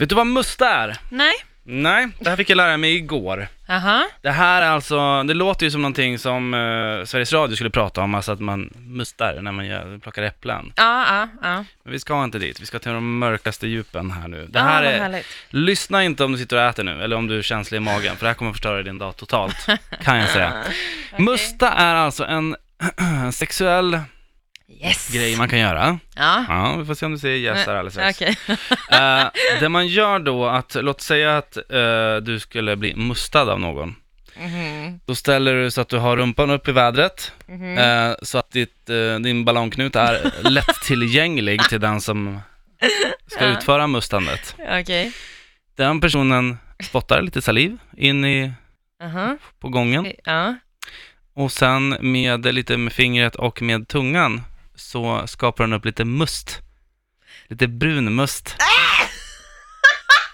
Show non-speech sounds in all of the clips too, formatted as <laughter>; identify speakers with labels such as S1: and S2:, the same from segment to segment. S1: Vet du vad musta är?
S2: Nej.
S1: Nej, det här fick jag lära mig igår.
S2: Aha.
S1: Det här är alltså, det låter ju som någonting som eh, Sveriges Radio skulle prata om, alltså att man mustar när man gör, plockar äpplen.
S2: Ja, ja, ja.
S1: Men vi ska inte dit, vi ska till de mörkaste djupen här nu. Det
S2: Ah,
S1: här
S2: vad
S1: är,
S2: härligt.
S1: lyssna inte om du sitter och äter nu, eller om du är känslig i magen, för det här kommer förstöra din dag
S2: <laughs>
S1: totalt, kan jag säga. Musta är alltså en <clears throat> sexuell
S2: Yes.
S1: grej man kan göra.
S2: Ja.
S1: Ja, vi får se om du säger yes här alldeles strax.
S2: Okej.
S1: Eh, det man gör då att, låt säga att eh, du skulle bli mustad av någon.
S2: Mhm.
S1: Då ställer du så att du har rumpan upp i vädret, eh, så att ditt, eh, din ballongknut är lättillgänglig till den som ska utföra mustandet.
S2: Okej.
S1: Den personen spottar lite saliv in i,
S2: Aha.
S1: på gången
S2: Ja.
S1: och sen med lite med fingret och med tungan så skapar den upp lite must. Lite brun must.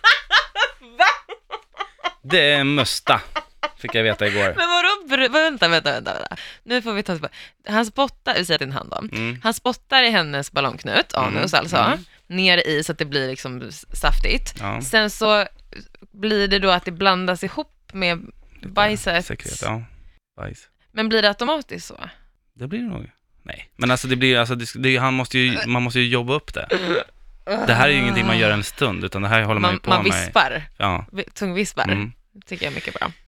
S1: <laughs> Det är musta, fick jag veta igår.
S2: Men vadå, br- vänta, vänta, vänta, vänta. Nu får vi ta tillbaka. Han spottar, vi säger din hand då.
S1: Mm.
S2: Han spottar i hennes ballongknut, anus
S1: Mm,
S2: alltså,
S1: mm.
S2: ner i så att det blir liksom saftigt.
S1: Ja.
S2: Sen så blir det då att det blandas ihop med bajset.
S1: Sekret, ja. Bajs.
S2: Men blir det automatiskt så?
S1: Det blir det nog. Nej, men alltså det blir, alltså det, det, han måste ju, man måste ju jobba upp det. Det här är ju ingenting man gör en stund, utan det här håller man, ju
S2: Man,
S1: på
S2: man
S1: med.
S2: vispar,
S1: Ja.
S2: vi- tungvispar.
S1: Mm.
S2: tycker jag är mycket bra.